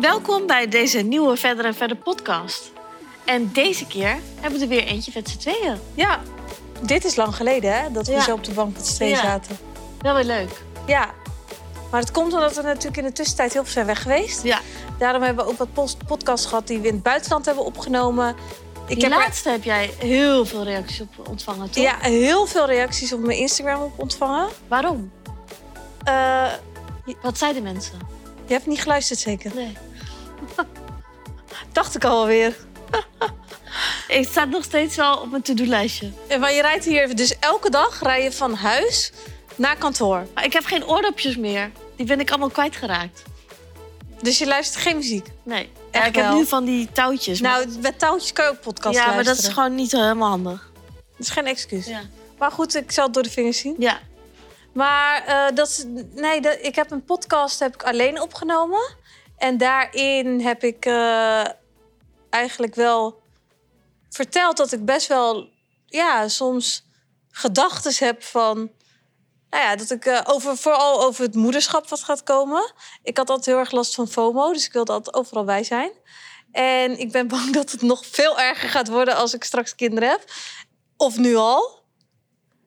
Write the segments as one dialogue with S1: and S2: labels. S1: Welkom bij deze nieuwe Verder en Verder podcast. En deze keer hebben we er weer eentje met z'n tweeën.
S2: Ja, dit is lang geleden hè, dat we
S1: Ja.
S2: zo op de bank met z'n tweeën
S1: Ja.
S2: zaten.
S1: Wel weer leuk.
S2: Ja, maar het komt omdat we natuurlijk in de tussentijd heel veel zijn weg geweest.
S1: Ja.
S2: Daarom hebben we ook wat post- podcasts gehad die we in het buitenland hebben opgenomen.
S1: Die
S2: heb er-
S1: laatste heb jij heel veel reacties op ontvangen, toch?
S2: ja, heel veel reacties op mijn Instagram op ontvangen.
S1: Waarom?
S2: Eh,
S1: Wat zeiden mensen?
S2: je hebt niet geluisterd zeker?
S1: Nee.
S2: Dacht ik alweer.
S1: Ik sta nog steeds wel op mijn to-do-lijstje.
S2: Eh, Maar je rijdt hier dus elke dag rij je van huis naar kantoor.
S1: Maar ik heb geen oordopjes meer. Die ben ik allemaal kwijtgeraakt.
S2: Dus je luistert geen muziek.
S1: Nee. Ja,
S2: Echt
S1: ik heb
S2: wel.
S1: nu van die touwtjes. maar-
S2: Nou, met touwtjes kan je ook podcast
S1: ja,
S2: luisteren.
S1: maar dat is gewoon niet helemaal handig.
S2: Dat is geen excuus.
S1: Ja.
S2: Maar goed, ik zal het door de vingers zien.
S1: ja.
S2: Maar eh, dat is, nee, dat, ik heb een podcast heb ik alleen opgenomen. En daarin heb ik eh, eigenlijk wel verteld dat ik best wel ja, soms gedachten heb van. Nou ja, dat ik eh, over, vooral over het moederschap wat gaat komen. Ik had altijd heel erg last van FOMO, dus ik wilde altijd overal bij zijn. En ik ben bang dat het nog veel erger gaat worden als ik straks kinderen heb. Of nu al.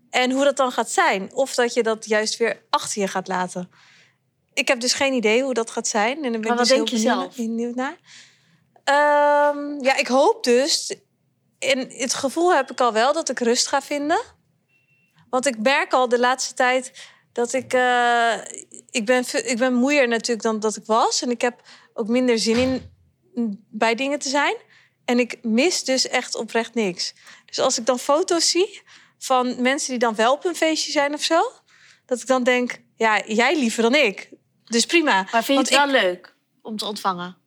S2: En hoe dat dan gaat zijn. Of dat je dat juist weer achter je gaat laten. Ik heb dus geen idee hoe dat gaat zijn. En dan ben
S1: Maar
S2: ik
S1: wat
S2: dus heel
S1: denk je
S2: benieuwd-
S1: zelf?
S2: benieuwd naar. Ehm, ja, ik hoop dus. En het gevoel heb ik al wel dat ik rust ga vinden. Want ik merk al de laatste tijd dat ik. eh, ik, ben, ve- ik ben moeier natuurlijk dan dat ik was. En ik heb ook minder zin in mm, bij dingen te zijn. En ik mis dus echt oprecht niks. Dus als ik dan foto's zie van mensen die dan wel op een feestje zijn of zo, dat ik dan denk: ja, jij liever dan ik. Dus prima.
S1: Maar vind je
S2: Want
S1: het wel leuk om te ontvangen?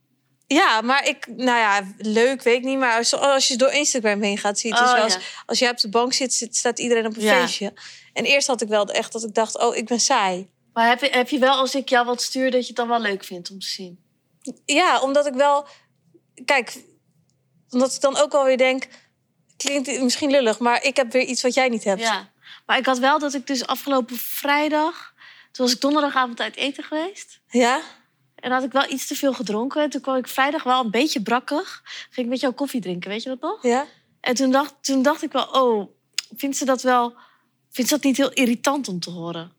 S2: Ja, maar ik, nou ja, leuk weet ik niet. Maar als, als je door Instagram heen gaat, zie je het
S1: Oh,
S2: dus wel
S1: ja.
S2: eens. Als jij op de bank zit, zit- staat iedereen op een
S1: Ja.
S2: feestje. En eerst had ik wel echt dat ik dacht, oh, ik ben saai.
S1: Maar heb je, heb je wel, als ik jou wat stuur, dat je het dan wel leuk vindt om te zien?
S2: Ja, omdat ik wel, kijk, omdat ik dan ook wel weer denk, klinkt misschien lullig, maar ik heb weer iets wat jij niet hebt.
S1: Ja. Maar ik had wel dat ik dus afgelopen vrijdag... Toen was ik donderdagavond uit eten geweest.
S2: Ja?
S1: En had ik wel iets te veel gedronken. En toen kwam ik vrijdag wel een beetje brakkig. Ging ik met jou koffie drinken, weet je dat nog?
S2: Ja?
S1: En toen dacht, toen dacht ik wel, oh, vindt ze dat wel... Vindt ze dat niet heel irritant om te horen?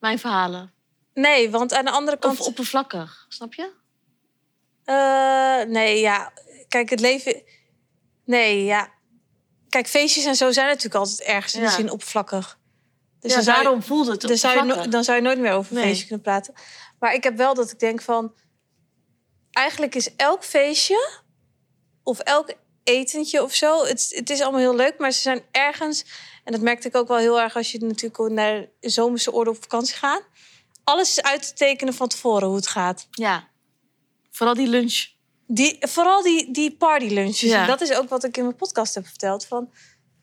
S1: Mijn verhalen.
S2: Nee, want aan de andere kant.
S1: Of oppervlakkig, snap je?
S2: Eh, nee, ja. Kijk, het leven. Nee, ja. Kijk, feestjes en zo zijn natuurlijk altijd ergens in de
S1: Ja.
S2: zin oppervlakkig. Dus
S1: Dus
S2: dan zou je-
S1: daarom voelde het
S2: dan zou, je no-
S1: oppervlakkig.
S2: dan zou je nooit meer over een
S1: Nee.
S2: feestje kunnen praten. Maar ik heb wel dat ik denk van... Eigenlijk is elk feestje of elk etentje of zo... Het, het is allemaal heel leuk, maar ze zijn ergens... En dat merkte ik ook wel heel erg als je natuurlijk naar de zomerse orde op vakantie gaat. Alles is uit te tekenen van tevoren hoe het gaat.
S1: Ja. Vooral die lunch.
S2: Die, vooral die, die partylunches.
S1: Ja.
S2: En Dat is ook wat ik in mijn podcast heb verteld. Van,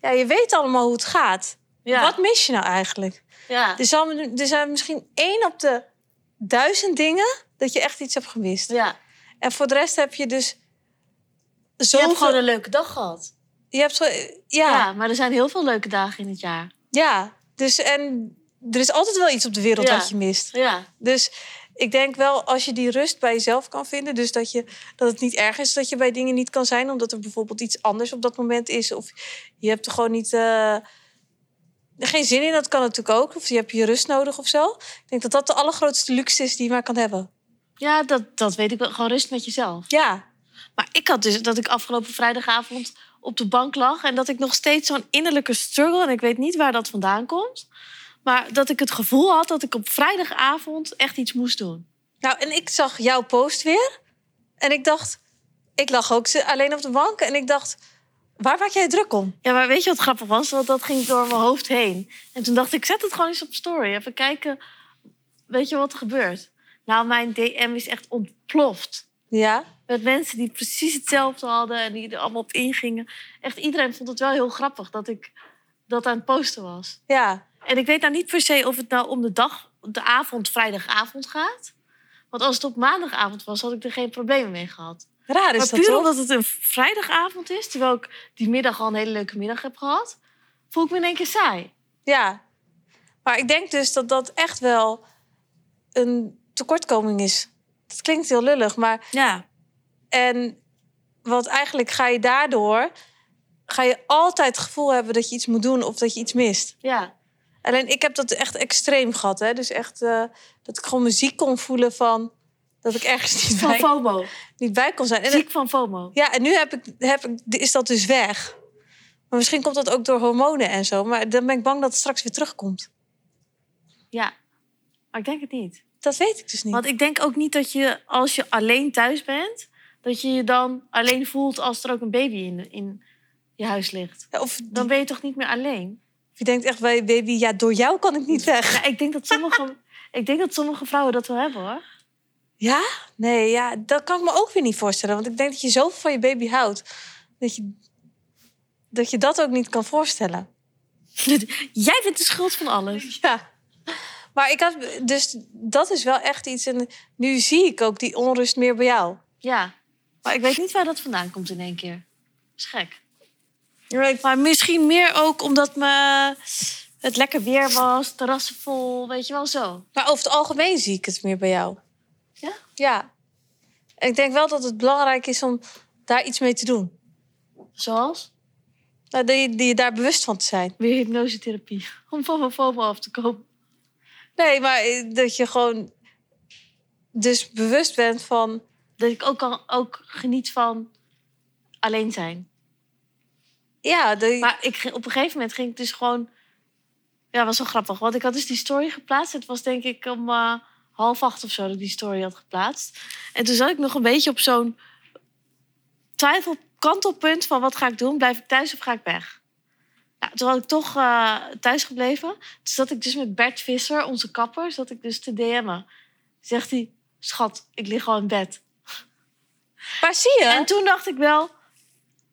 S2: ja, je weet allemaal hoe het gaat.
S1: Ja.
S2: Wat mis je nou eigenlijk?
S1: Ja.
S2: Er, zal, er zijn misschien één op de duizend dingen dat je echt iets hebt gemist.
S1: ja.
S2: En voor de rest heb je dus
S1: Je hebt
S2: zoveel...
S1: gewoon een leuke dag gehad.
S2: Je hebt zo, ja,
S1: Ja.
S2: ja.
S1: maar er zijn heel veel leuke dagen in het jaar.
S2: Dus en er is altijd wel iets op de wereld
S1: Ja.
S2: dat je mist.
S1: Ja,
S2: Dus ik denk wel als je die rust bij jezelf kan vinden, dus dat, je, dat het niet erg is dat je bij dingen niet kan zijn, omdat er bijvoorbeeld iets anders op dat moment is, of je hebt er gewoon niet, eh, geen zin in, dat kan natuurlijk ook, of je hebt je rust nodig of zo. Ik denk dat dat de allergrootste luxe is die je maar kan hebben.
S1: ja dat, dat weet ik wel. Gewoon rust met jezelf.
S2: Ja,
S1: Maar ik had dus dat ik afgelopen vrijdagavond op de bank lag... en dat ik nog steeds zo'n innerlijke struggle... en ik weet niet waar dat vandaan komt... maar dat ik het gevoel had dat ik op vrijdagavond echt iets moest doen.
S2: nou en ik zag jouw post weer en ik dacht, ik lag ook ze- alleen op de bank en ik dacht, waar maak jij je druk om?
S1: Ja, maar weet je wat grappig was? Want dat ging door mijn hoofd heen. En toen dacht ik, zet het gewoon eens op story. Even kijken, weet je wat er gebeurt? Nou, mijn DM is echt ontploft.
S2: Ja,
S1: Met mensen die precies hetzelfde hadden en die er allemaal op ingingen. Echt iedereen vond het wel heel grappig dat ik dat aan het posten was.
S2: ja,
S1: En ik weet nou niet per se of het nou om de dag, de avond, vrijdagavond gaat. Want als het op maandagavond was, had ik er geen problemen mee gehad.
S2: raar is
S1: maar
S2: dat
S1: puur
S2: toch?
S1: omdat het een vrijdagavond is, terwijl ik die middag al een hele leuke middag heb gehad, voel ik me in één keer saai.
S2: Ja, maar ik denk dus dat dat echt wel een tekortkoming is. Dat klinkt heel lullig, maar
S1: Ja.
S2: En want eigenlijk ga je daardoor ga je altijd het gevoel hebben dat je iets moet doen of dat je iets mist.
S1: Ja.
S2: Alleen ik heb dat echt extreem gehad, hè? Dus echt eh, dat ik gewoon me ziek kon voelen van dat ik ergens niet,
S1: Van
S2: bij,
S1: FOMO.
S2: niet bij kon zijn. En, eh,
S1: Ziek van FOMO.
S2: ja, en nu heb ik, heb ik, is dat dus weg. Maar misschien komt dat ook door hormonen en zo. Maar dan ben ik bang dat het straks weer terugkomt.
S1: Ja. Maar ik denk het niet.
S2: Dat weet ik dus niet.
S1: Want ik denk ook niet dat je, als je alleen thuis bent, dat je je dan alleen voelt als er ook een baby in, in je huis ligt.
S2: Of
S1: Dan ben je toch niet meer alleen?
S2: je denkt echt, bij baby, ja, door jou kan ik niet weg.
S1: Ja, ik, denk dat sommige, ik denk dat sommige vrouwen dat wel hebben hoor.
S2: Ja? Nee, ja, dat kan ik me ook weer niet voorstellen. Want ik denk dat je zoveel van je baby houdt. Dat je dat, je dat ook niet kan voorstellen.
S1: Jij bent de schuld van alles.
S2: Ja. Maar ik had, dus dat is wel echt iets. En nu zie ik ook die onrust meer bij jou.
S1: Ja. Maar ik weet niet waar dat vandaan komt in één keer. is gek.
S2: Right.
S1: Maar misschien meer ook omdat me het lekker weer was, terrassen vol, weet je wel zo.
S2: Maar over het algemeen zie ik het meer bij jou.
S1: Ja?
S2: Ja. En ik denk wel dat het belangrijk is om daar iets mee te doen.
S1: Zoals?
S2: Nou, dat je, dat je daar bewust van te zijn.
S1: Weer hypnosetherapie. Om van mijn FOMO af te komen.
S2: Nee, maar eh, dat je gewoon dus bewust bent van
S1: Dat ik ook, kan, ook geniet van alleen zijn.
S2: Ja, de,
S1: Maar ik, ging- op een gegeven moment ging ik dus gewoon... Ja, was wel grappig. Want ik had dus die story geplaatst. Het was denk ik om eh, half acht of zo dat ik die story had geplaatst. En toen zat ik nog een beetje op zo'n twijfel, kantelpunt van wat ga ik doen? Blijf ik thuis of ga ik weg? Ja, toen had ik toch eh, thuis gebleven. Toen zat ik dus met Bert Visser, onze kapper, zat ik dus te DM'en. Zegt hij, schat, ik lig al in bed.
S2: maar zie je?
S1: En toen dacht ik wel,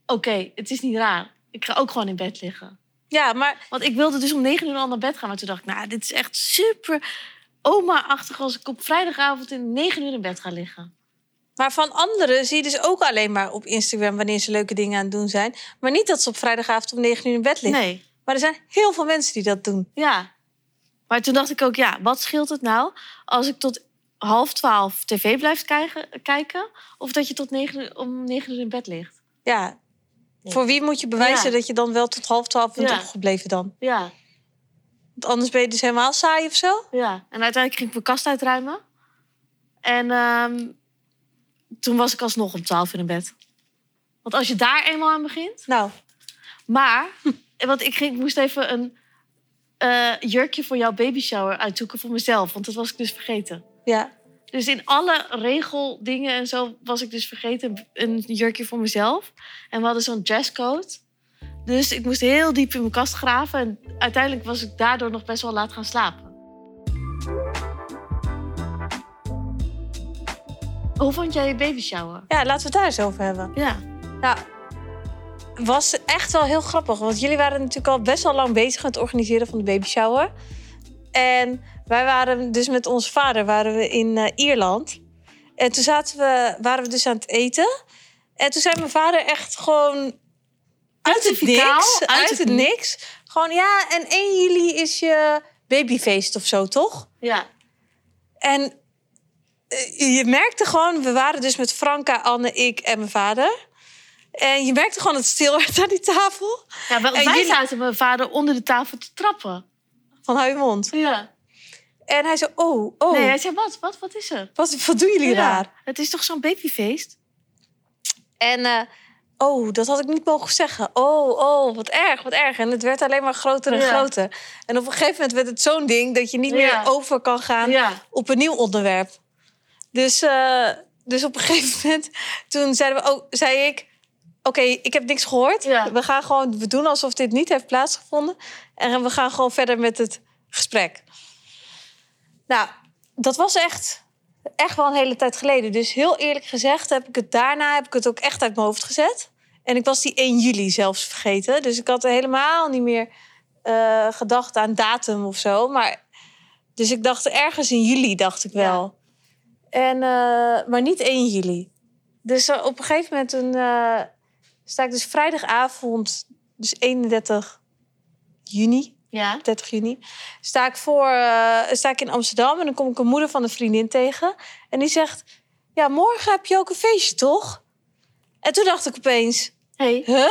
S1: oké, het is niet raar. Ik ga ook gewoon in bed liggen.
S2: ja, maar
S1: Want ik wilde dus om negen uur al naar bed gaan. Maar toen dacht ik, nou, dit is echt super oma-achtig... als ik op vrijdagavond in negen uur in bed ga liggen.
S2: Maar van anderen zie je dus ook alleen maar op Instagram wanneer ze leuke dingen aan het doen zijn. Maar niet dat ze op vrijdagavond om 9 uur in bed liggen.
S1: Nee,
S2: Maar er zijn heel veel mensen die dat doen.
S1: ja. Maar toen dacht ik ook, ja, wat scheelt het nou... als ik tot half twaalf tv blijf kijken... kijken of dat je tot negen uur, om negen uur in bed ligt.
S2: Ja.
S1: Ja.
S2: Voor wie moet je bewijzen
S1: Ja.
S2: dat je dan wel tot half twaalf bent
S1: Ja.
S2: opgebleven dan?
S1: Ja,
S2: Want anders ben je dus helemaal saai of zo?
S1: ja. En uiteindelijk ging ik mijn kast uitruimen. En ehm, toen was ik alsnog om twaalf uur in bed. Want als je daar eenmaal aan begint...
S2: Nou,
S1: Maar, want ik, ging, ik moest even een eh, jurkje voor jouw babyshower uitzoeken voor mezelf. Want dat was ik dus vergeten.
S2: ja.
S1: Dus in alle regeldingen en zo was ik dus vergeten een jurkje voor mezelf. En we hadden zo'n dresscode. Dus ik moest heel diep in mijn kast graven. En uiteindelijk was ik daardoor nog best wel laat gaan slapen. Hoe vond jij je babyshower?
S2: Ja, laten we het daar eens over hebben.
S1: Ja.
S2: Nou, was echt wel heel grappig. Want jullie waren natuurlijk al best wel lang bezig met het organiseren van de babyshower. En wij waren dus met onze vader waren we in eh, Ierland. En toen zaten we, waren we dus aan het eten. En toen zei mijn vader echt gewoon... Uit het
S1: Pontificaal,
S2: niks.
S1: uit
S2: Uit
S1: het
S2: het
S1: niks.
S2: niks. Gewoon, ja, en 1 juli is je babyfeest of zo, toch?
S1: Ja.
S2: En eh, je merkte gewoon, we waren dus met Franka, Anne, ik en mijn vader. En je merkte gewoon dat het stil werd aan die tafel.
S1: ja wel,
S2: En
S1: wij
S2: jullie-
S1: zaten mijn vader onder de tafel te trappen.
S2: Van hou je mond.
S1: Ja.
S2: En hij zei, oh, oh,
S1: Nee, hij zei, wat, wat, wat is er?
S2: wat, wat doen jullie
S1: Ja,
S2: daar?
S1: Het is toch zo'n babyfeest?
S2: En, eh, oh, dat had ik niet mogen zeggen. Oh, oh, wat erg, wat erg. En het werd alleen maar groter en
S1: Ja.
S2: groter. En op een gegeven moment werd het zo'n ding... dat je niet
S1: Ja.
S2: meer over kan gaan
S1: Ja.
S2: op een nieuw onderwerp. Dus, eh, dus op een gegeven moment, toen zeiden we, oh, zei ik, oké, ik heb niks gehoord.
S1: Ja.
S2: We gaan gewoon, we doen alsof dit niet heeft plaatsgevonden. En we gaan gewoon verder met het gesprek. Nou, dat was echt, echt wel een hele tijd geleden. Dus heel eerlijk gezegd heb ik het daarna, heb ik het ook echt uit mijn hoofd gezet. En ik was die 1 juli zelfs vergeten. Dus ik had er helemaal niet meer eh, gedacht aan datum of zo. Maar, dus ik dacht ergens in juli, dacht ik wel. En, eh, maar niet 1 juli. Dus eh, op een gegeven moment toen, eh, sta ik dus vrijdagavond, dus 31 juni,
S1: Ja.
S2: 30 juni, sta ik, voor, eh, sta ik in Amsterdam en dan kom ik een moeder van een vriendin tegen. En die zegt, ja, morgen heb je ook een feestje, toch? En toen dacht ik opeens,
S1: Hey.
S2: huh?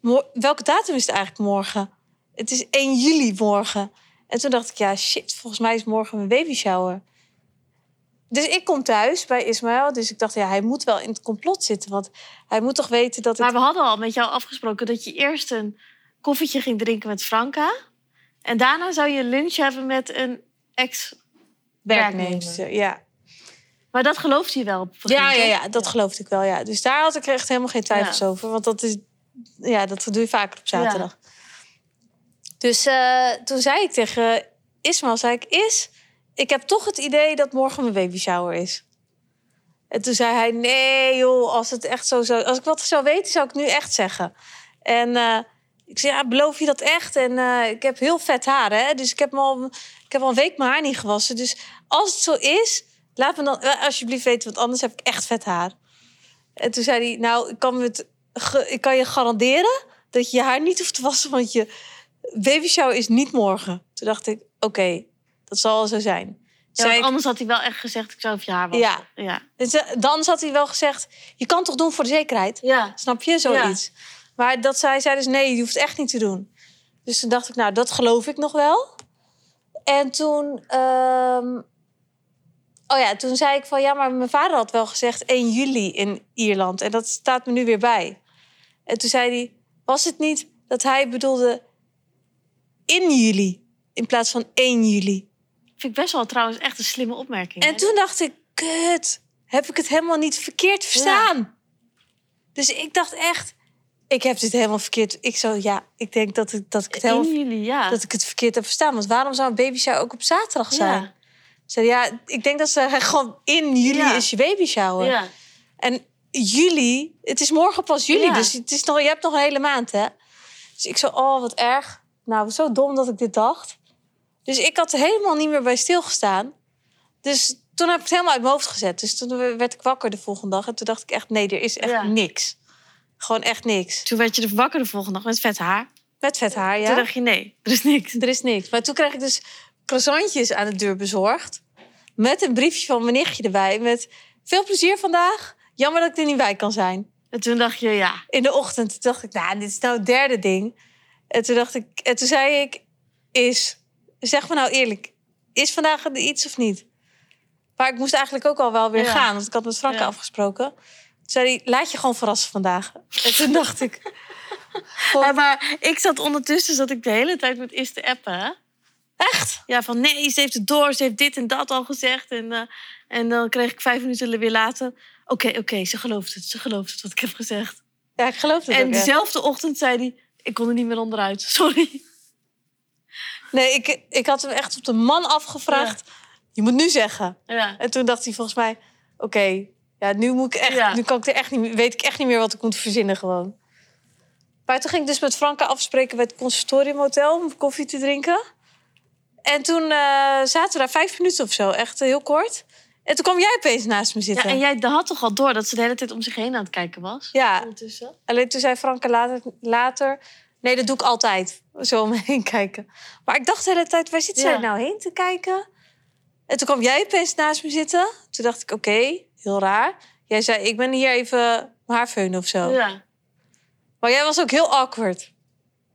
S2: Mo- welke datum is het eigenlijk morgen? Het is 1 juli morgen. En toen dacht ik, ja, shit, volgens mij is morgen mijn baby shower. Dus ik kom thuis bij Ismaël. Dus ik dacht, ja, hij moet wel in het complot zitten. Want hij moet toch weten dat ik...
S1: Maar we hadden al met jou afgesproken dat je eerst een koffietje ging drinken met Franka. En daarna zou je een lunch hebben met een ex.
S2: werknemster, ja.
S1: Maar dat gelooft hij wel. op het begin,
S2: Ja, ja,
S1: toch?
S2: ja, dat geloofde ik wel. Ja. Dus daar had ik echt helemaal geen twijfels
S1: Ja.
S2: over. Want dat, is, ja, dat doe je vaker op
S1: Ja.
S2: zaterdag. Dus eh, toen zei ik tegen Ismael, zei ik, Is, ik heb toch het idee dat morgen mijn baby shower is. En toen zei hij, nee joh, als het echt zo zou... Als ik wat zou weten, zou ik nu echt zeggen. En eh, ik zei, ja, beloof je dat echt? En eh, ik heb heel vet haar, hè. Dus ik heb, me al, ik heb al een week mijn haar niet gewassen. Dus als het zo is, laat me dan wel alsjeblieft weten, want anders heb ik echt vet haar. En toen zei hij, nou, ik kan, me het, ge- ik kan je garanderen dat je je haar niet hoeft te wassen, want je baby shower is niet morgen. Toen dacht ik, oké, dat zal wel zo zijn. Toen
S1: Ja,
S2: zei
S1: want
S2: ik,
S1: anders had hij wel echt gezegd: ik zou op je haar wassen.
S2: Ja.
S1: ja.
S2: dus, eh, dan had hij wel gezegd, je kan het toch doen voor de zekerheid?
S1: ja.
S2: Snap je, zoiets? Maar dat zij zei dus, nee, je hoeft het echt niet te doen. Dus toen dacht ik, nou, dat geloof ik nog wel. En toen... ehm, Oh ja, toen zei ik van, ja, maar mijn vader had wel gezegd 1 juli in Ierland. En dat staat me nu weer bij. En toen zei hij, was het niet dat hij bedoelde in juli in plaats van 1 juli?
S1: Vind ik best wel trouwens echt een slimme opmerking.
S2: En
S1: hè?
S2: toen dacht ik, kut, heb ik het helemaal niet verkeerd verstaan? Dus ik dacht echt, ik heb dit helemaal verkeerd. Ik zo, ja, ik denk dat ik, dat ik, het, helemaal,
S1: In juli, ja.
S2: dat ik het verkeerd heb verstaan. Want waarom zou een baby shower ook op zaterdag zijn?
S1: Ja.
S2: Ze zei, ja, ik denk dat ze zeggen, gewoon in juli
S1: Ja.
S2: is je baby shower.
S1: Ja.
S2: En juli, het is morgen pas juli,
S1: Ja.
S2: dus het is nog, je hebt nog een hele maand, hè? Dus ik zo, oh, wat erg. Nou, zo dom dat ik dit dacht. Dus ik had er helemaal niet meer bij stilgestaan. Dus toen heb ik het helemaal uit mijn hoofd gezet. Dus toen werd ik wakker de volgende dag en toen dacht ik echt, nee, er is echt
S1: Ja.
S2: niks. Gewoon echt niks.
S1: Toen werd je er wakker de volgende dag met vet haar.
S2: Met vet haar, ja.
S1: Toen dacht je: nee, er is niks.
S2: Er is niks. Maar toen kreeg ik dus croissantjes aan de deur bezorgd. Met een briefje van mijn nichtje erbij. Met veel plezier vandaag. Jammer dat ik er niet bij kan zijn.
S1: En toen dacht je: ja.
S2: in de ochtend toen dacht ik, nou, dit is nou het derde ding. En toen dacht ik, en toen zei ik, is, zeg me nou eerlijk, is vandaag er iets of niet? Maar ik moest eigenlijk ook al wel weer
S1: Ja.
S2: gaan, want ik had met Franka
S1: Ja.
S2: afgesproken. Toen zei hij, laat je gewoon verrassen vandaag. En toen dacht ik, God.
S1: Ja, maar ik zat ondertussen zat ik de hele tijd met Is te appen. hè.
S2: echt?
S1: Ja, van nee, ze heeft het door, ze heeft dit en dat al gezegd. En, eh, en dan kreeg ik vijf minuten weer later... Oké, oké, ze gelooft het, ze gelooft het wat ik heb gezegd.
S2: Ja, ik geloof het
S1: en
S2: ook echt.
S1: dezelfde ochtend zei hij... Ik kon er niet meer onderuit, sorry.
S2: Nee, ik, ik had hem echt op de man afgevraagd. Je moet nu zeggen.
S1: Ja,
S2: En toen dacht hij volgens mij, oké, ja, nu moet ik echt,
S1: Ja.
S2: nu kan ik er echt niet, meer- weet ik echt niet meer wat ik moet verzinnen gewoon. Maar toen ging ik dus met Franka afspreken bij het consultorium hotel om koffie te drinken. En toen eh, zaten we daar vijf minuten of zo, echt eh, heel kort. En toen kwam jij opeens naast me
S1: ja
S2: zitten. Ja,
S1: en jij had toch al door dat ze de hele tijd om zich heen aan het kijken was? Ondertussen?
S2: alleen toen zei Franka later, later, nee, dat doe ik altijd, zo om me heen kijken. Maar ik dacht de hele tijd, waar zit zij
S1: Ja.
S2: nou heen te kijken? En toen kwam jij opeens naast me zitten. Toen dacht ik, oké, heel raar. Jij zei, ik ben hier even mijn haar veunen of zo.
S1: Ja.
S2: Maar jij was ook heel awkward.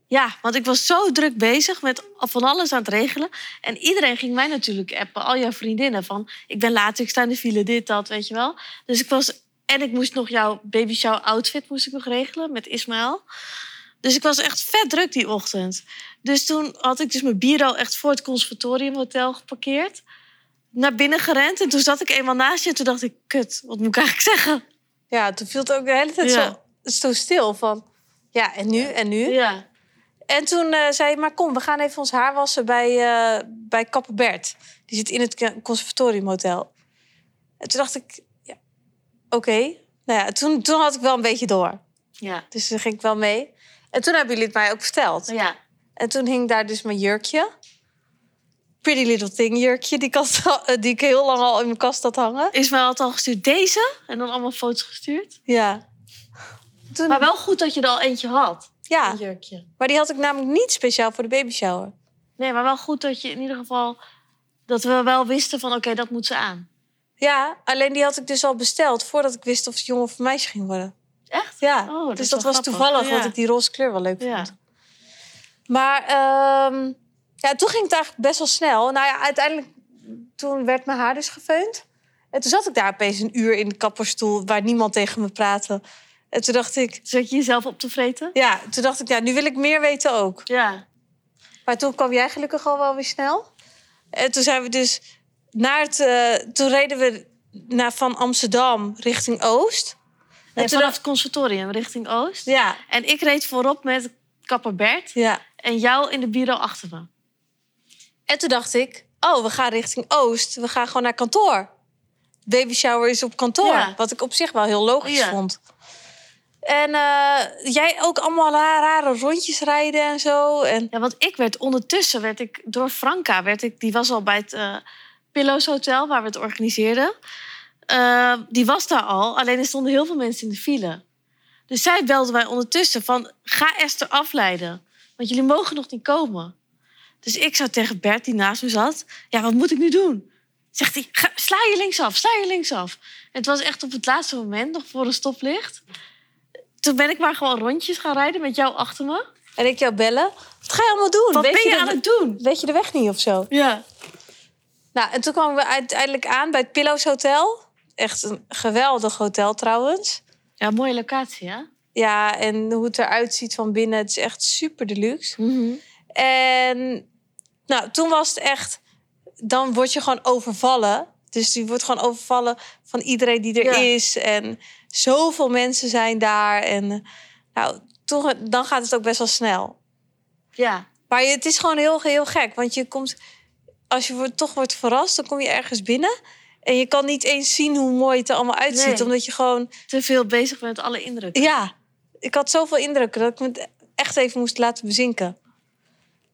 S1: Ja, want ik was zo druk bezig met van alles aan het regelen. En iedereen ging mij natuurlijk appen, al jouw vriendinnen. Van, ik ben laat, ik sta in de file, dit, dat, weet je wel. Dus ik was... En ik moest nog jouw baby shower outfit moest ik nog regelen met Ismaël. Dus ik was echt vet druk die ochtend. Dus toen had ik dus mijn bureau echt voor het conservatoriumhotel geparkeerd. Naar binnen gerend. En toen zat ik eenmaal naast je en toen dacht ik... Kut, wat moet ik eigenlijk zeggen?
S2: Ja, toen viel het ook de hele tijd
S1: Ja.
S2: zo, zo stil van... Ja, en nu, en nu?
S1: Ja.
S2: En toen eh, zei hij, maar kom, we gaan even ons haar wassen bij, eh, bij kapper Bert. Die zit in het ke- conservatoriumhotel. En toen dacht ik, ja, oké. Nou ja, toen, toen had ik wel een beetje door.
S1: Ja. Nou
S2: Dus toen ging ik wel mee. En toen hebben jullie het mij ook verteld.
S1: Ja.
S2: En toen hing daar dus mijn jurkje. Pretty Little Thing jurkje, die, kast, eh, die ik heel lang al in mijn kast had hangen.
S1: Ismaël had al gestuurd deze en dan allemaal foto's gestuurd.
S2: Ja. Toen,
S1: Maar wel goed dat je er al eentje had.
S2: ja,
S1: Een jurkje.
S2: maar die had ik namelijk niet speciaal voor de baby shower.
S1: Nee, maar wel goed dat je in ieder geval... dat we wel wisten van, oké, dat moet ze aan.
S2: Ja, alleen die had ik dus al besteld voordat ik wist of het jongen of meisje ging worden.
S1: Echt?
S2: Ja,
S1: Oh, dat
S2: dus
S1: is
S2: dat
S1: wel
S2: was
S1: grappig.
S2: toevallig,
S1: Ja.
S2: want ik die roze kleur wel leuk vond.
S1: Ja.
S2: Maar ehm, ja, toen ging het eigenlijk best wel snel. Nou ja, uiteindelijk toen werd mijn haar dus gefeund. En toen zat ik daar opeens een uur in de kapperstoel waar niemand tegen me praatte. En toen dacht ik,
S1: Zet Dus je jezelf op te vreten?
S2: ja, toen dacht ik, ja, nu wil ik meer weten ook.
S1: Ja.
S2: Maar toen kwam jij gelukkig al wel weer snel. En toen zijn we dus naar het, eh, toen reden we naar, van Amsterdam richting Oost.
S1: Nee,
S2: en toen
S1: vanaf het conservatorium richting Oost.
S2: dacht- ja,
S1: En ik reed voorop met kapper Bert
S2: ja.
S1: en jou in de bureau achter me.
S2: En toen dacht ik, oh, we gaan richting Oost. We gaan gewoon naar kantoor. Baby shower is op kantoor.
S1: Ja.
S2: Wat ik op zich wel heel logisch
S1: Ja.
S2: vond. En eh, jij ook allemaal ra- rare rondjes rijden en zo. En
S1: Ja, want ik werd ondertussen, werd ik door Franca, werd ik, die was al bij het eh Pillows Hotel waar we het organiseerden. Eh, die was daar al, alleen er stonden heel veel mensen in de file. Dus zij belde mij ondertussen van, ga Esther afleiden. Want jullie mogen nog niet komen. Dus ik zou tegen Bert, die naast me zat, ja, wat moet ik nu doen? Zegt hij, "Ga- sla je linksaf, sla je linksaf. En het was echt op het laatste moment, nog voor een stoplicht. Toen ben ik maar gewoon rondjes gaan rijden met jou achter me.
S2: en ik jou bellen. Wat ga je allemaal doen?
S1: Wat ben je
S2: de-
S1: aan het doen?
S2: Weet je de weg niet of zo?
S1: Ja.
S2: Nou, en toen kwamen we uiteindelijk aan bij het Pillows Hotel. Echt een geweldig hotel trouwens.
S1: Ja, mooie locatie, hè?
S2: Ja, en hoe het eruit ziet van binnen. Het is echt super deluxe.
S1: Mhm.
S2: En nou, toen was het echt, dan word je gewoon overvallen. Dus je wordt gewoon overvallen van iedereen die er
S1: Ja.
S2: is. En zoveel mensen zijn daar. En eh, nou, toen, dan gaat het ook best wel snel.
S1: Ja.
S2: Maar je- het is gewoon heel, heel gek. Want je komt, als je wordt- toch wordt verrast, dan kom je ergens binnen. En je kan niet eens zien hoe mooi het er allemaal uitziet.
S1: Nee.
S2: Omdat je gewoon,
S1: Te veel bezig met alle indrukken.
S2: ja, ik had zoveel indrukken dat ik me echt even moest laten bezinken.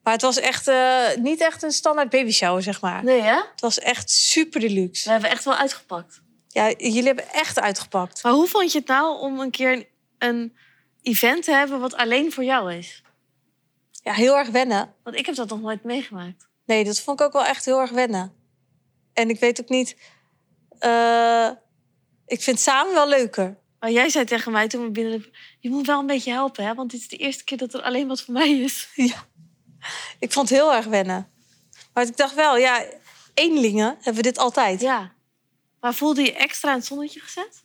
S2: Maar het was echt eh, niet echt een standaard baby shower, zeg maar.
S1: Nee, hè?
S2: Het was echt super
S1: We
S2: deluxe.
S1: hebben echt wel uitgepakt.
S2: Ja, jullie hebben echt uitgepakt.
S1: Maar hoe vond je het nou om een keer een, een event te hebben wat alleen voor jou is?
S2: Ja, heel erg wennen.
S1: Want ik heb dat nog nooit meegemaakt.
S2: Nee, dat vond ik ook wel echt heel erg wennen. En ik weet ook niet. eh, ik vind samen wel leuker.
S1: Maar jij zei tegen mij toen we binnen... liepen, Je moet wel een beetje helpen, hè? Want dit is de eerste keer dat er alleen wat voor mij is.
S2: Ik vond het heel erg wennen. Maar ik dacht wel, ja, eenlingen hebben we dit altijd. Ja,
S1: Ja. Maar voelde je extra in het zonnetje gezet?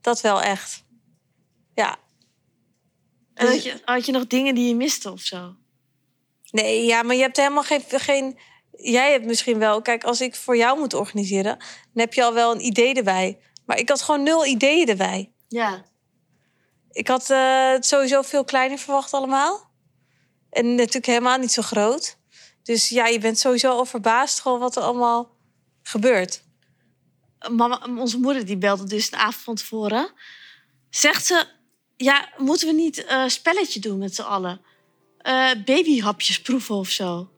S2: dat wel echt. Ja.
S1: En
S2: Dus-
S1: had je, had je nog dingen die je miste of zo?
S2: Nee, ja, maar je hebt helemaal geen, geen. Jij hebt misschien wel. Kijk, als ik voor jou moet organiseren, dan heb je al wel een idee erbij. Maar ik had gewoon nul ideeën erbij.
S1: Ja.
S2: Ik had eh, het sowieso veel kleiner verwacht allemaal. En natuurlijk helemaal niet zo groot. Dus ja, je bent sowieso al verbaasd gewoon wat er allemaal gebeurt.
S1: mama, onze moeder die belde dus een avond van tevoren. Zegt ze, ja, moeten we niet een spelletje doen met z'n allen? Eh, babyhapjes proeven of zo.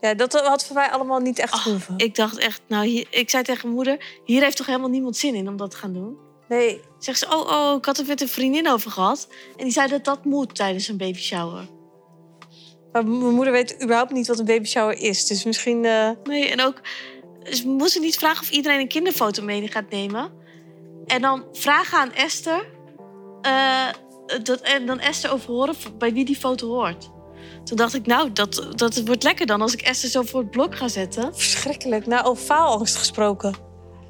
S2: Ja, dat had voor mij allemaal niet echt
S1: Ach,
S2: gehoeven.
S1: Ik dacht echt, nou, hier, ik zei tegen mijn moeder... hier heeft toch helemaal niemand zin in om dat te gaan doen?
S2: Nee,
S1: Zegt ze, oh, oh, ik had het met een vriendin over gehad. En die zei dat dat moet tijdens een baby shower.
S2: maar m- mijn moeder weet überhaupt niet wat een baby shower is. Dus misschien... eh,
S1: Nee, en ook, ze moesten niet vragen of iedereen een kinderfoto mee gaat nemen. En dan vragen aan Esther, eh, dat, en dan Esther overhoren v- bij wie die foto hoort. Toen dacht ik, nou, dat, dat wordt lekker dan als ik Esther zo voor het blok ga zetten.
S2: verschrikkelijk. Nou, over faalangst gesproken.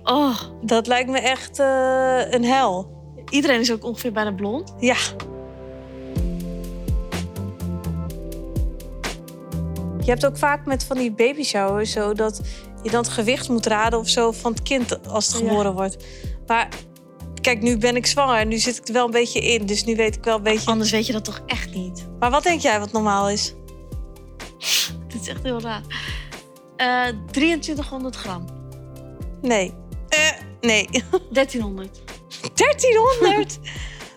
S1: Oh,
S2: Dat lijkt me echt eh, een hel.
S1: iedereen is ook ongeveer bijna blond.
S2: Ja. Je hebt ook vaak met van die baby showers zo dat je dan het gewicht moet raden of zo van het kind als het
S1: Ja.
S2: geboren wordt. Maar kijk, nu ben ik zwanger en nu zit ik er wel een beetje in. Dus nu weet ik wel een beetje.
S1: Anders weet je dat toch echt niet.
S2: Maar wat denk jij wat normaal is?
S1: Dit is echt heel raar. Eh 2300 gram.
S2: Nee. Eh, nee.
S1: 1300.
S2: 1300!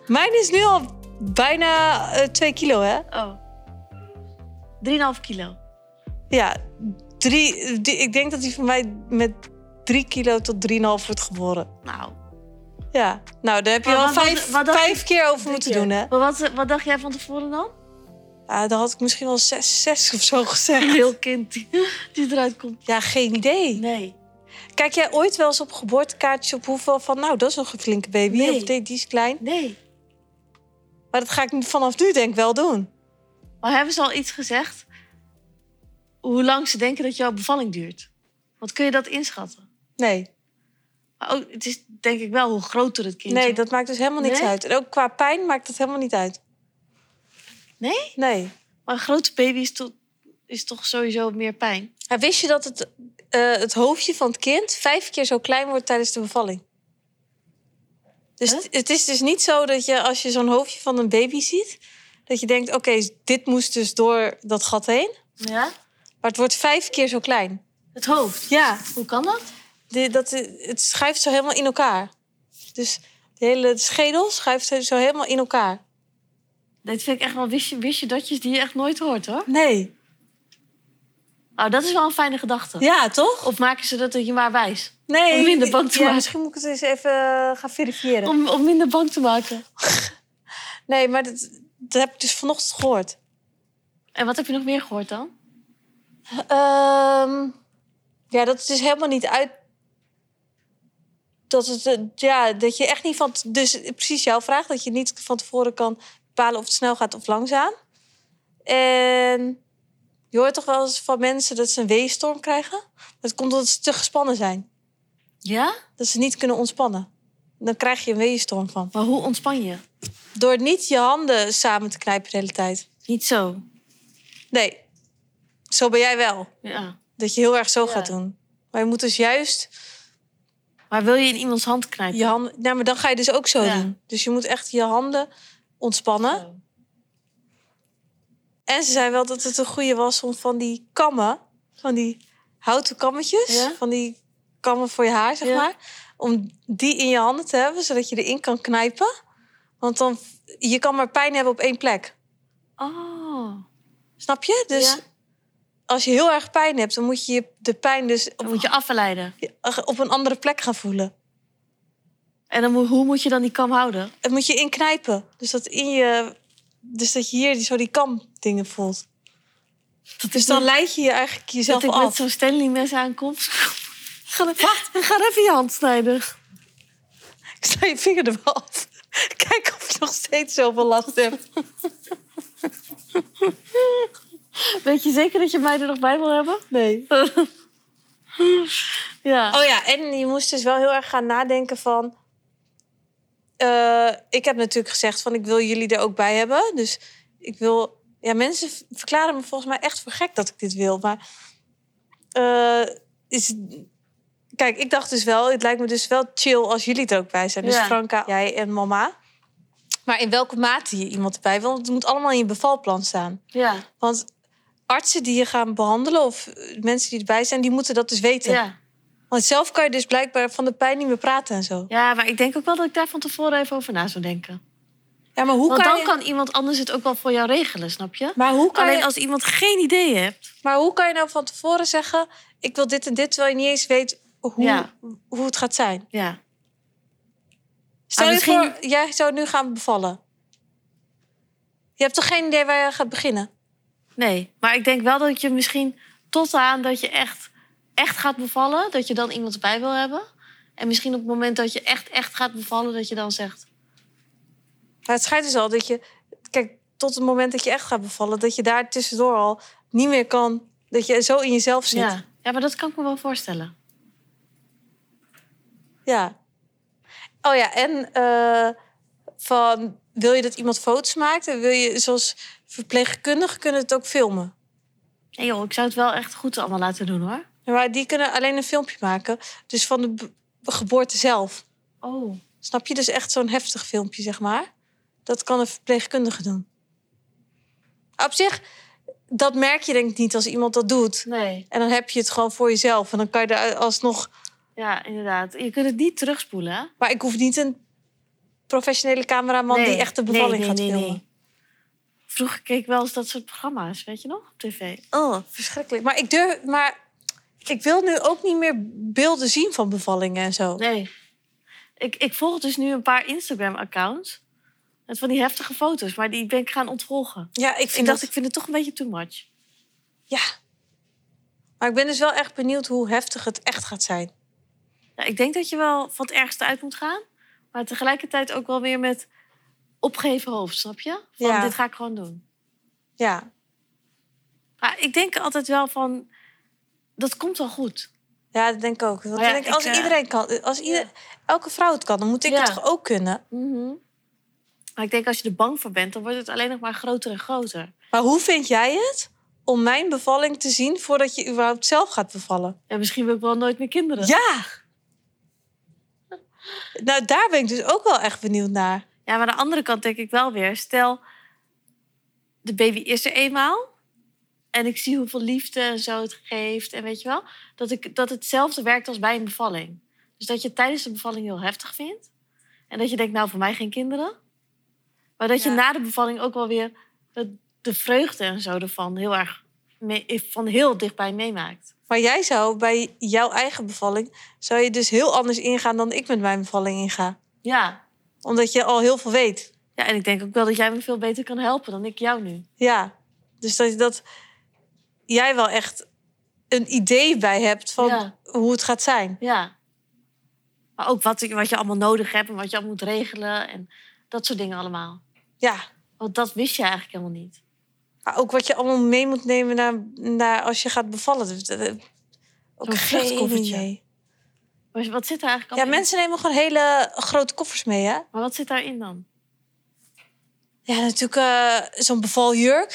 S2: Mijn is nu al bijna eh, 2 kilo, hè?
S1: Oh. 3,5 kilo.
S2: Ja, drie, die- ik denk dat hij van mij met 3 kilo tot 3,5 wordt geboren.
S1: Nou,
S2: Ja, nou daar heb je
S1: Maar
S2: wel
S1: wat-
S2: vijf,
S1: wat dacht
S2: vijf keer over
S1: drie
S2: moeten
S1: keer.
S2: doen, hè?
S1: Maar wat, wat dacht jij van tevoren dan?
S2: Ja, dan had ik misschien wel zes, zes of zo gezegd.
S1: Een heel kind die, die eruit komt.
S2: Ja, geen idee.
S1: Nee.
S2: Kijk jij ooit wel eens op geboortekaartjes op hoeveel van... nou, dat is nog een flinke baby
S1: Nee.
S2: of die, die is klein.
S1: Nee.
S2: Maar dat ga ik vanaf nu denk ik wel doen.
S1: Maar hebben ze al iets gezegd? Hoe lang ze denken dat jouw bevalling duurt? Want kun je dat inschatten?
S2: Nee,
S1: Maar ook, het is denk ik wel hoe groter het kind
S2: nee
S1: wordt.
S2: dat maakt dus helemaal niks
S1: Nee?
S2: uit. En ook qua pijn maakt dat helemaal niet uit.
S1: Nee?
S2: Nee.
S1: Maar een grote baby is, to- is toch sowieso meer pijn?
S2: En wist je dat het, eh, het hoofdje van het kind vijf keer zo klein wordt tijdens de bevalling? Dus
S1: Huh?
S2: t- het is dus niet zo dat je als je zo'n hoofdje van een baby ziet, dat je denkt: oké, dit moest dus door dat gat heen.
S1: Ja?
S2: Maar het wordt vijf keer zo klein.
S1: Het hoofd.
S2: Ja,
S1: Hoe kan dat?
S2: de- dat, het schuift zo helemaal in elkaar. Dus de hele schedel schuift zo helemaal in elkaar.
S1: Dit vind ik echt wel wist je, wist je datjes die je echt nooit hoort hoor.
S2: Nee.
S1: Nou, dat is wel een fijne gedachte.
S2: Ja, toch?
S1: Of maken ze dat je maar wijs?
S2: Nee.
S1: Om minder bang te
S2: ja,
S1: maken.
S2: Misschien moet ik het eens even eh, gaan verifiëren.
S1: Om, om minder bang te maken.
S2: Nee, maar dat, dat heb ik dus vanochtend gehoord.
S1: En wat heb je nog meer gehoord dan?
S2: Ehm, ja, dat is dus helemaal niet uit. Dat, het, eh, ja, dat je echt niet van. t- Dus precies jouw vraag, dat je niet van tevoren kan bepalen of het snel gaat of langzaam. En je hoort toch wel eens van mensen dat ze een weestorm krijgen? Dat komt omdat ze te gespannen zijn.
S1: Ja?
S2: Dat ze niet kunnen ontspannen. Dan krijg je een weeënstorm van.
S1: Maar hoe ontspan je?
S2: Door niet je handen samen te knijpen de hele tijd.
S1: Niet zo.
S2: Nee, zo ben jij wel.
S1: Ja.
S2: Dat je heel erg zo
S1: Ja.
S2: gaat doen. Maar je moet dus juist
S1: Maar wil je in iemands hand knijpen?
S2: Je handen, nou, maar dan ga je dus ook zo
S1: Ja.
S2: doen. Dus je moet echt je handen ontspannen.
S1: Zo.
S2: En ze zei wel dat het een goede was om van die kammen, van die houten kammetjes,
S1: Ja.
S2: van die kammen voor je haar, zeg
S1: Ja.
S2: maar, om die in je handen te hebben, zodat je erin kan knijpen. Want dan, je kan maar pijn hebben op één plek.
S1: Oh.
S2: Snap je? Dus
S1: Ja.
S2: als je heel erg pijn hebt, dan moet je je- de pijn dus
S1: Dan
S2: op,
S1: moet je afleiden.
S2: op een andere plek gaan voelen.
S1: En dan moet- hoe moet je dan die kam houden?
S2: Het moet je inknijpen. Dus dat in je. Dus dat je hier zo die kam dingen voelt. dus dan leid je je eigenlijk
S1: Dat
S2: jezelf
S1: ik met
S2: af.
S1: zo'n Stanley mes aankom. Ga, ga even je hand snijden.
S2: Ik sta je vinger er wel af. Kijk of je nog steeds zoveel last hebt.
S1: Weet je zeker dat je mij er nog bij wil hebben?
S2: Nee.
S1: Ja.
S2: Oh ja, en je moest dus wel heel erg gaan nadenken van... eh, ik heb natuurlijk gezegd van ik wil jullie er ook bij hebben. Dus ik wil... Ja, mensen v- verklaren me volgens mij echt voor gek dat ik dit wil. Maar eh, is, kijk, ik dacht dus wel... Het lijkt me dus wel chill als jullie er ook bij zijn. Dus
S1: Ja.
S2: Franka, jij en mama. Maar in welke mate je iemand erbij wil... want het moet allemaal in je bevalplan staan.
S1: Ja.
S2: Want artsen die je gaan behandelen of eh, mensen die erbij zijn... die moeten dat dus weten.
S1: Ja.
S2: Want zelf kan je dus blijkbaar van de pijn niet meer praten en zo.
S1: ja, maar ik denk ook wel dat ik daar van tevoren even over na zou denken.
S2: Ja, maar hoe
S1: Want
S2: kan
S1: dan
S2: je...
S1: kan iemand anders het ook wel voor jou regelen, snap je?
S2: Maar hoe kan,
S1: Alleen
S2: je,
S1: als iemand geen idee hebt.
S2: maar hoe kan je nou van tevoren zeggen... ik wil dit en dit, terwijl je niet eens weet hoe,
S1: Ja.
S2: hoe het gaat zijn?
S1: Ja.
S2: Stel je
S1: misschien-
S2: voor, jij zou nu gaan bevallen. Je hebt toch geen idee waar je gaat beginnen?
S1: Nee. Maar ik denk wel dat je misschien tot aan dat je echt, echt gaat bevallen, dat je dan iemand erbij wil hebben. En misschien op het moment dat je echt, echt gaat bevallen, dat je dan zegt.
S2: Maar het schijnt dus al dat je... Kijk, tot het moment dat je echt gaat bevallen... dat je daar tussendoor al niet meer kan... dat je zo in jezelf zit.
S1: Ja. ja, maar dat kan ik me wel voorstellen.
S2: Ja. Oh ja, en eh, van wil je dat iemand foto's maakt? En wil je, zoals verpleegkundigen, kunnen het ook filmen.
S1: Nee joh, ik zou het wel echt goed allemaal laten doen hoor.
S2: Maar die kunnen alleen een filmpje maken. Dus van de be- geboorte zelf.
S1: Oh.
S2: Snap je? Dus echt zo'n heftig filmpje, zeg maar. Dat kan een verpleegkundige doen. Op zich, dat merk je denk ik niet als iemand dat doet.
S1: Nee.
S2: En dan heb je het gewoon voor jezelf. En dan kan je er alsnog...
S1: Ja, inderdaad. Je kunt het niet terugspoelen. hè?
S2: Maar ik hoef niet een professionele cameraman die echt de bevalling gaat filmen.
S1: Vroeger keek ik wel eens dat soort programma's, weet je nog? Op tv.
S2: Oh, verschrikkelijk. Maar ik durf, maar ik wil nu ook niet meer beelden zien van bevallingen en zo.
S1: Nee. Ik, ik volg dus nu een paar Instagram-accounts. Met van die heftige foto's. Maar die ben ik gaan ontvolgen.
S2: Ja, ik
S1: Ik
S2: vind
S1: dacht,
S2: dat.
S1: ik vind het toch een beetje too much.
S2: Ja. Maar ik ben dus wel echt benieuwd hoe heftig het echt gaat zijn.
S1: Nou, ik denk dat je wel van het ergste uit moet gaan. Maar tegelijkertijd ook wel weer met opgeven hoofd, snap je? Van
S2: Ja.
S1: dit ga ik gewoon doen.
S2: Ja,
S1: Maar ik denk altijd wel van, dat komt wel goed.
S2: ja dat denk ik ook. Want
S1: Maar ja,
S2: ik denk,
S1: ik,
S2: als
S1: eh,
S2: iedereen kan, als ieder, elke vrouw het kan, dan moet ik
S1: Ja.
S2: het toch ook kunnen?
S1: Maar ik denk als je er bang voor bent, dan wordt het alleen nog maar groter en groter.
S2: Maar hoe vind jij het om mijn bevalling te zien voordat je überhaupt zelf gaat bevallen?
S1: En misschien wil ik wel nooit meer kinderen.
S2: Ja! Nou, daar ben ik dus ook wel echt benieuwd naar.
S1: Ja, maar aan de andere kant denk ik wel weer. Stel, de baby is er eenmaal. En ik zie hoeveel liefde en zo het geeft. En weet je wel, dat, ik, dat hetzelfde werkt als bij een bevalling. Dus dat je het tijdens de bevalling heel heftig vindt. En dat je denkt, nou, voor mij geen kinderen. Maar dat je
S2: Ja.
S1: na de bevalling ook wel weer de, de vreugde en zo ervan heel erg mee- van heel dichtbij meemaakt.
S2: Maar jij zou bij jouw eigen bevalling, zou je dus heel anders ingaan dan ik met mijn bevalling inga.
S1: Ja.
S2: Omdat je al heel veel weet.
S1: ja, en ik denk ook wel dat jij me veel beter kan helpen dan ik jou nu.
S2: Ja, dus dat, dat jij wel echt een idee bij hebt van
S1: Ja.
S2: hoe het gaat zijn.
S1: Ja. Maar ook wat, wat je allemaal nodig hebt en wat je allemaal moet regelen en dat soort dingen allemaal.
S2: Ja,
S1: Want dat wist je eigenlijk helemaal niet.
S2: maar ook wat je allemaal mee moet nemen naar, naar als je gaat bevallen. Dat- dat- dat- Ook
S1: Zo'n
S2: geen
S1: vluchtkoffertje.
S2: idee.
S1: Maar wat zit daar eigenlijk
S2: Ja,
S1: allemaal in?
S2: mensen nemen gewoon hele grote koffers mee, hè?
S1: Maar wat zit daarin dan?
S2: Ja, natuurlijk eh, zo'n bevaljurk.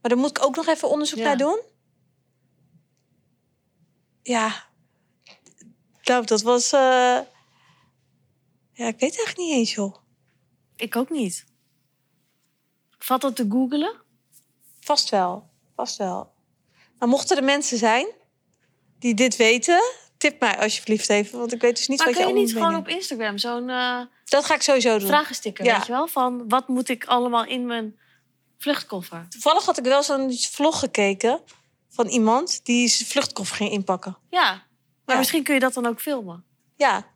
S2: Maar daar moet ik ook nog even onderzoek
S1: Ja.
S2: naar doen. Ja. Nou, dat was... eh, Ja, ik weet het eigenlijk niet eens, joh.
S1: Ik ook niet. Vat dat te googelen?
S2: Vast wel. Vast wel. Maar mochten er mensen zijn die dit weten... Tip mij alsjeblieft even, want ik weet dus niet
S1: maar
S2: wat
S1: kun je
S2: allemaal
S1: niet
S2: moet
S1: gewoon op
S2: meenemen.
S1: Instagram zo'n eh
S2: Dat ga ik sowieso doen.
S1: vragensticker,
S2: Ja.
S1: weet je wel? Van wat moet ik allemaal in mijn vluchtkoffer?
S2: Toevallig had ik wel zo'n vlog gekeken... van iemand die zijn vluchtkoffer ging inpakken.
S1: Ja. Maar
S2: Ja.
S1: misschien kun je dat dan ook filmen.
S2: Ja.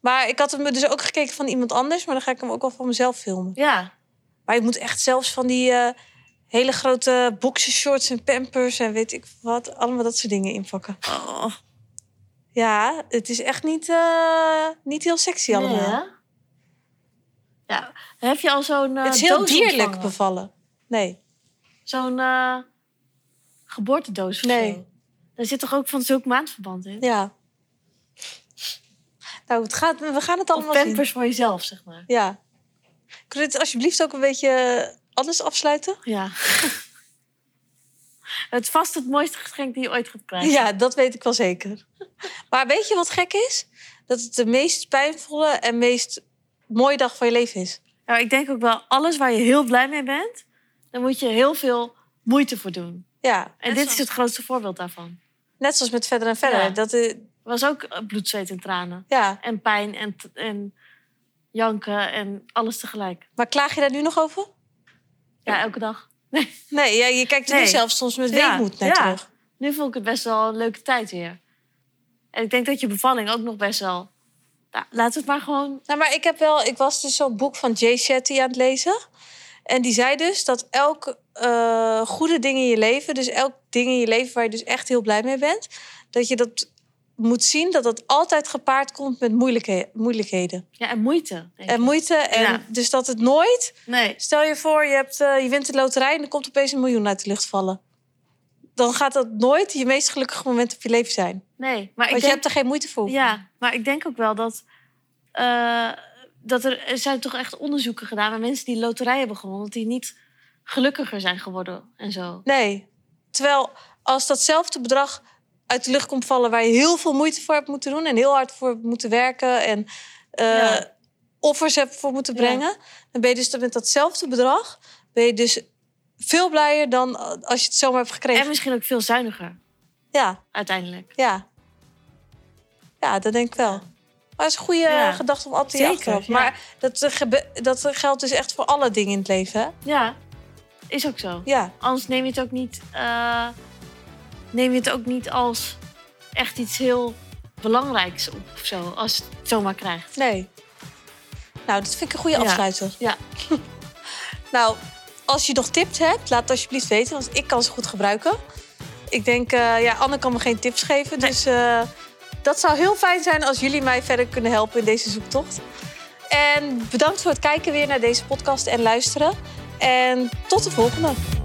S2: Maar ik had hem dus ook gekeken van iemand anders, maar dan ga ik hem ook wel van mezelf filmen.
S1: Ja.
S2: Maar ik moet echt zelfs van die eh, hele grote boxershorts en pampers en weet ik wat, allemaal dat soort dingen inpakken.
S1: Oh.
S2: Ja, het is echt niet, eh, niet heel sexy allemaal.
S1: Nee, hè? Ja. Heb je al zo'n eh
S2: het is heel
S1: doos
S2: dierlijk
S1: ontvangen?
S2: bevallen. Nee.
S1: Zo'n eh, geboortedoos of
S2: Nee.
S1: zo. Daar zit toch ook van zulk maandverband in?
S2: Ja. Nou, het gaat, we gaan het
S1: of
S2: allemaal zien.
S1: pampers voor jezelf, zeg maar.
S2: Ja. Kunnen we dit alsjeblieft ook een beetje anders afsluiten?
S1: Ja. het is vast het mooiste geschenk die je ooit gaat krijgen.
S2: Ja, dat weet ik wel zeker. Maar weet je wat gek is? Dat het de meest pijnvolle en meest mooie dag van je leven is.
S1: Nou, ik denk ook wel, alles waar je heel blij mee bent... daar moet je heel veel moeite voor doen.
S2: Ja,
S1: En dit
S2: net, zoals,
S1: is het grootste voorbeeld daarvan.
S2: net zoals met verder en verder.
S1: Ja.
S2: Dat, eh,
S1: Er was ook eh, bloed, zweet en tranen.
S2: ja.
S1: En pijn en, t- en janken en alles tegelijk.
S2: Maar klaag je daar nu nog over?
S1: Ja, elke dag.
S2: Nee, ja, je kijkt er nu
S1: Nee.
S2: zelfs soms met
S1: Ja,
S2: weemoed naar
S1: ja.
S2: terug.
S1: nu vond ik het best wel een leuke tijd weer. En ik denk dat je bevalling ook nog best wel. Nou, laten we het maar gewoon.
S2: Nou, maar ik heb wel, ik was dus zo'n boek van Jay Shetty aan het lezen. En die zei dus dat elk eh, goede ding in je leven, dus elk ding in je leven waar je dus echt heel blij mee bent, dat je dat moet zien dat dat altijd gepaard komt met moeilijkhe- moeilijkheden.
S1: Ja, en moeite. denk ik.
S2: En moeite. En
S1: Ja.
S2: dus dat het nooit.
S1: Nee.
S2: Stel je voor, je, hebt, eh, je wint de loterij en er komt opeens een miljoen uit de lucht vallen. Dan gaat dat nooit je meest gelukkige moment op je leven zijn. Want
S1: Nee. Maar ik
S2: je
S1: denk,
S2: hebt er geen moeite voor.
S1: ja, maar ik denk ook wel dat. eh, dat er, er zijn toch echt onderzoeken gedaan met mensen die loterij hebben gewonnen. dat die niet gelukkiger zijn geworden en zo.
S2: Nee. Terwijl als datzelfde bedrag uit de lucht komt vallen waar je heel veel moeite voor hebt moeten doen en heel hard voor hebt moeten werken en eh,
S1: Ja.
S2: offers hebt voor moeten
S1: Ja.
S2: brengen, dan ben je dus met datzelfde bedrag ben je dus veel blijer dan eh, als je het zomaar hebt gekregen.
S1: En misschien ook veel zuiniger
S2: Ja.
S1: uiteindelijk.
S2: Ja. Ja, dat denk ik wel. Maar dat is een goede
S1: Ja.
S2: eh, gedachte om altijd
S1: Zeker,
S2: achteraf.
S1: ja.
S2: Maar dat, eh, gebe- dat eh, geldt dus echt voor alle dingen in het leven, hè?
S1: Ja, is ook zo.
S2: Ja.
S1: Anders neem je het ook niet, eh, neem je het ook niet als echt iets heel belangrijks op of zo. Als je het zomaar krijgt.
S2: Nee. Nou, dat vind ik een goede
S1: Ja.
S2: afsluiter.
S1: Ja.
S2: Nou, als je nog tips hebt, laat het alsjeblieft weten. Want ik kan ze goed gebruiken. Ik denk, eh, ja, Anne kan me geen tips geven. Dus eh, Dat zou heel fijn zijn als jullie mij verder kunnen helpen in deze zoektocht. En bedankt voor het kijken weer naar deze podcast en luisteren. En tot de volgende.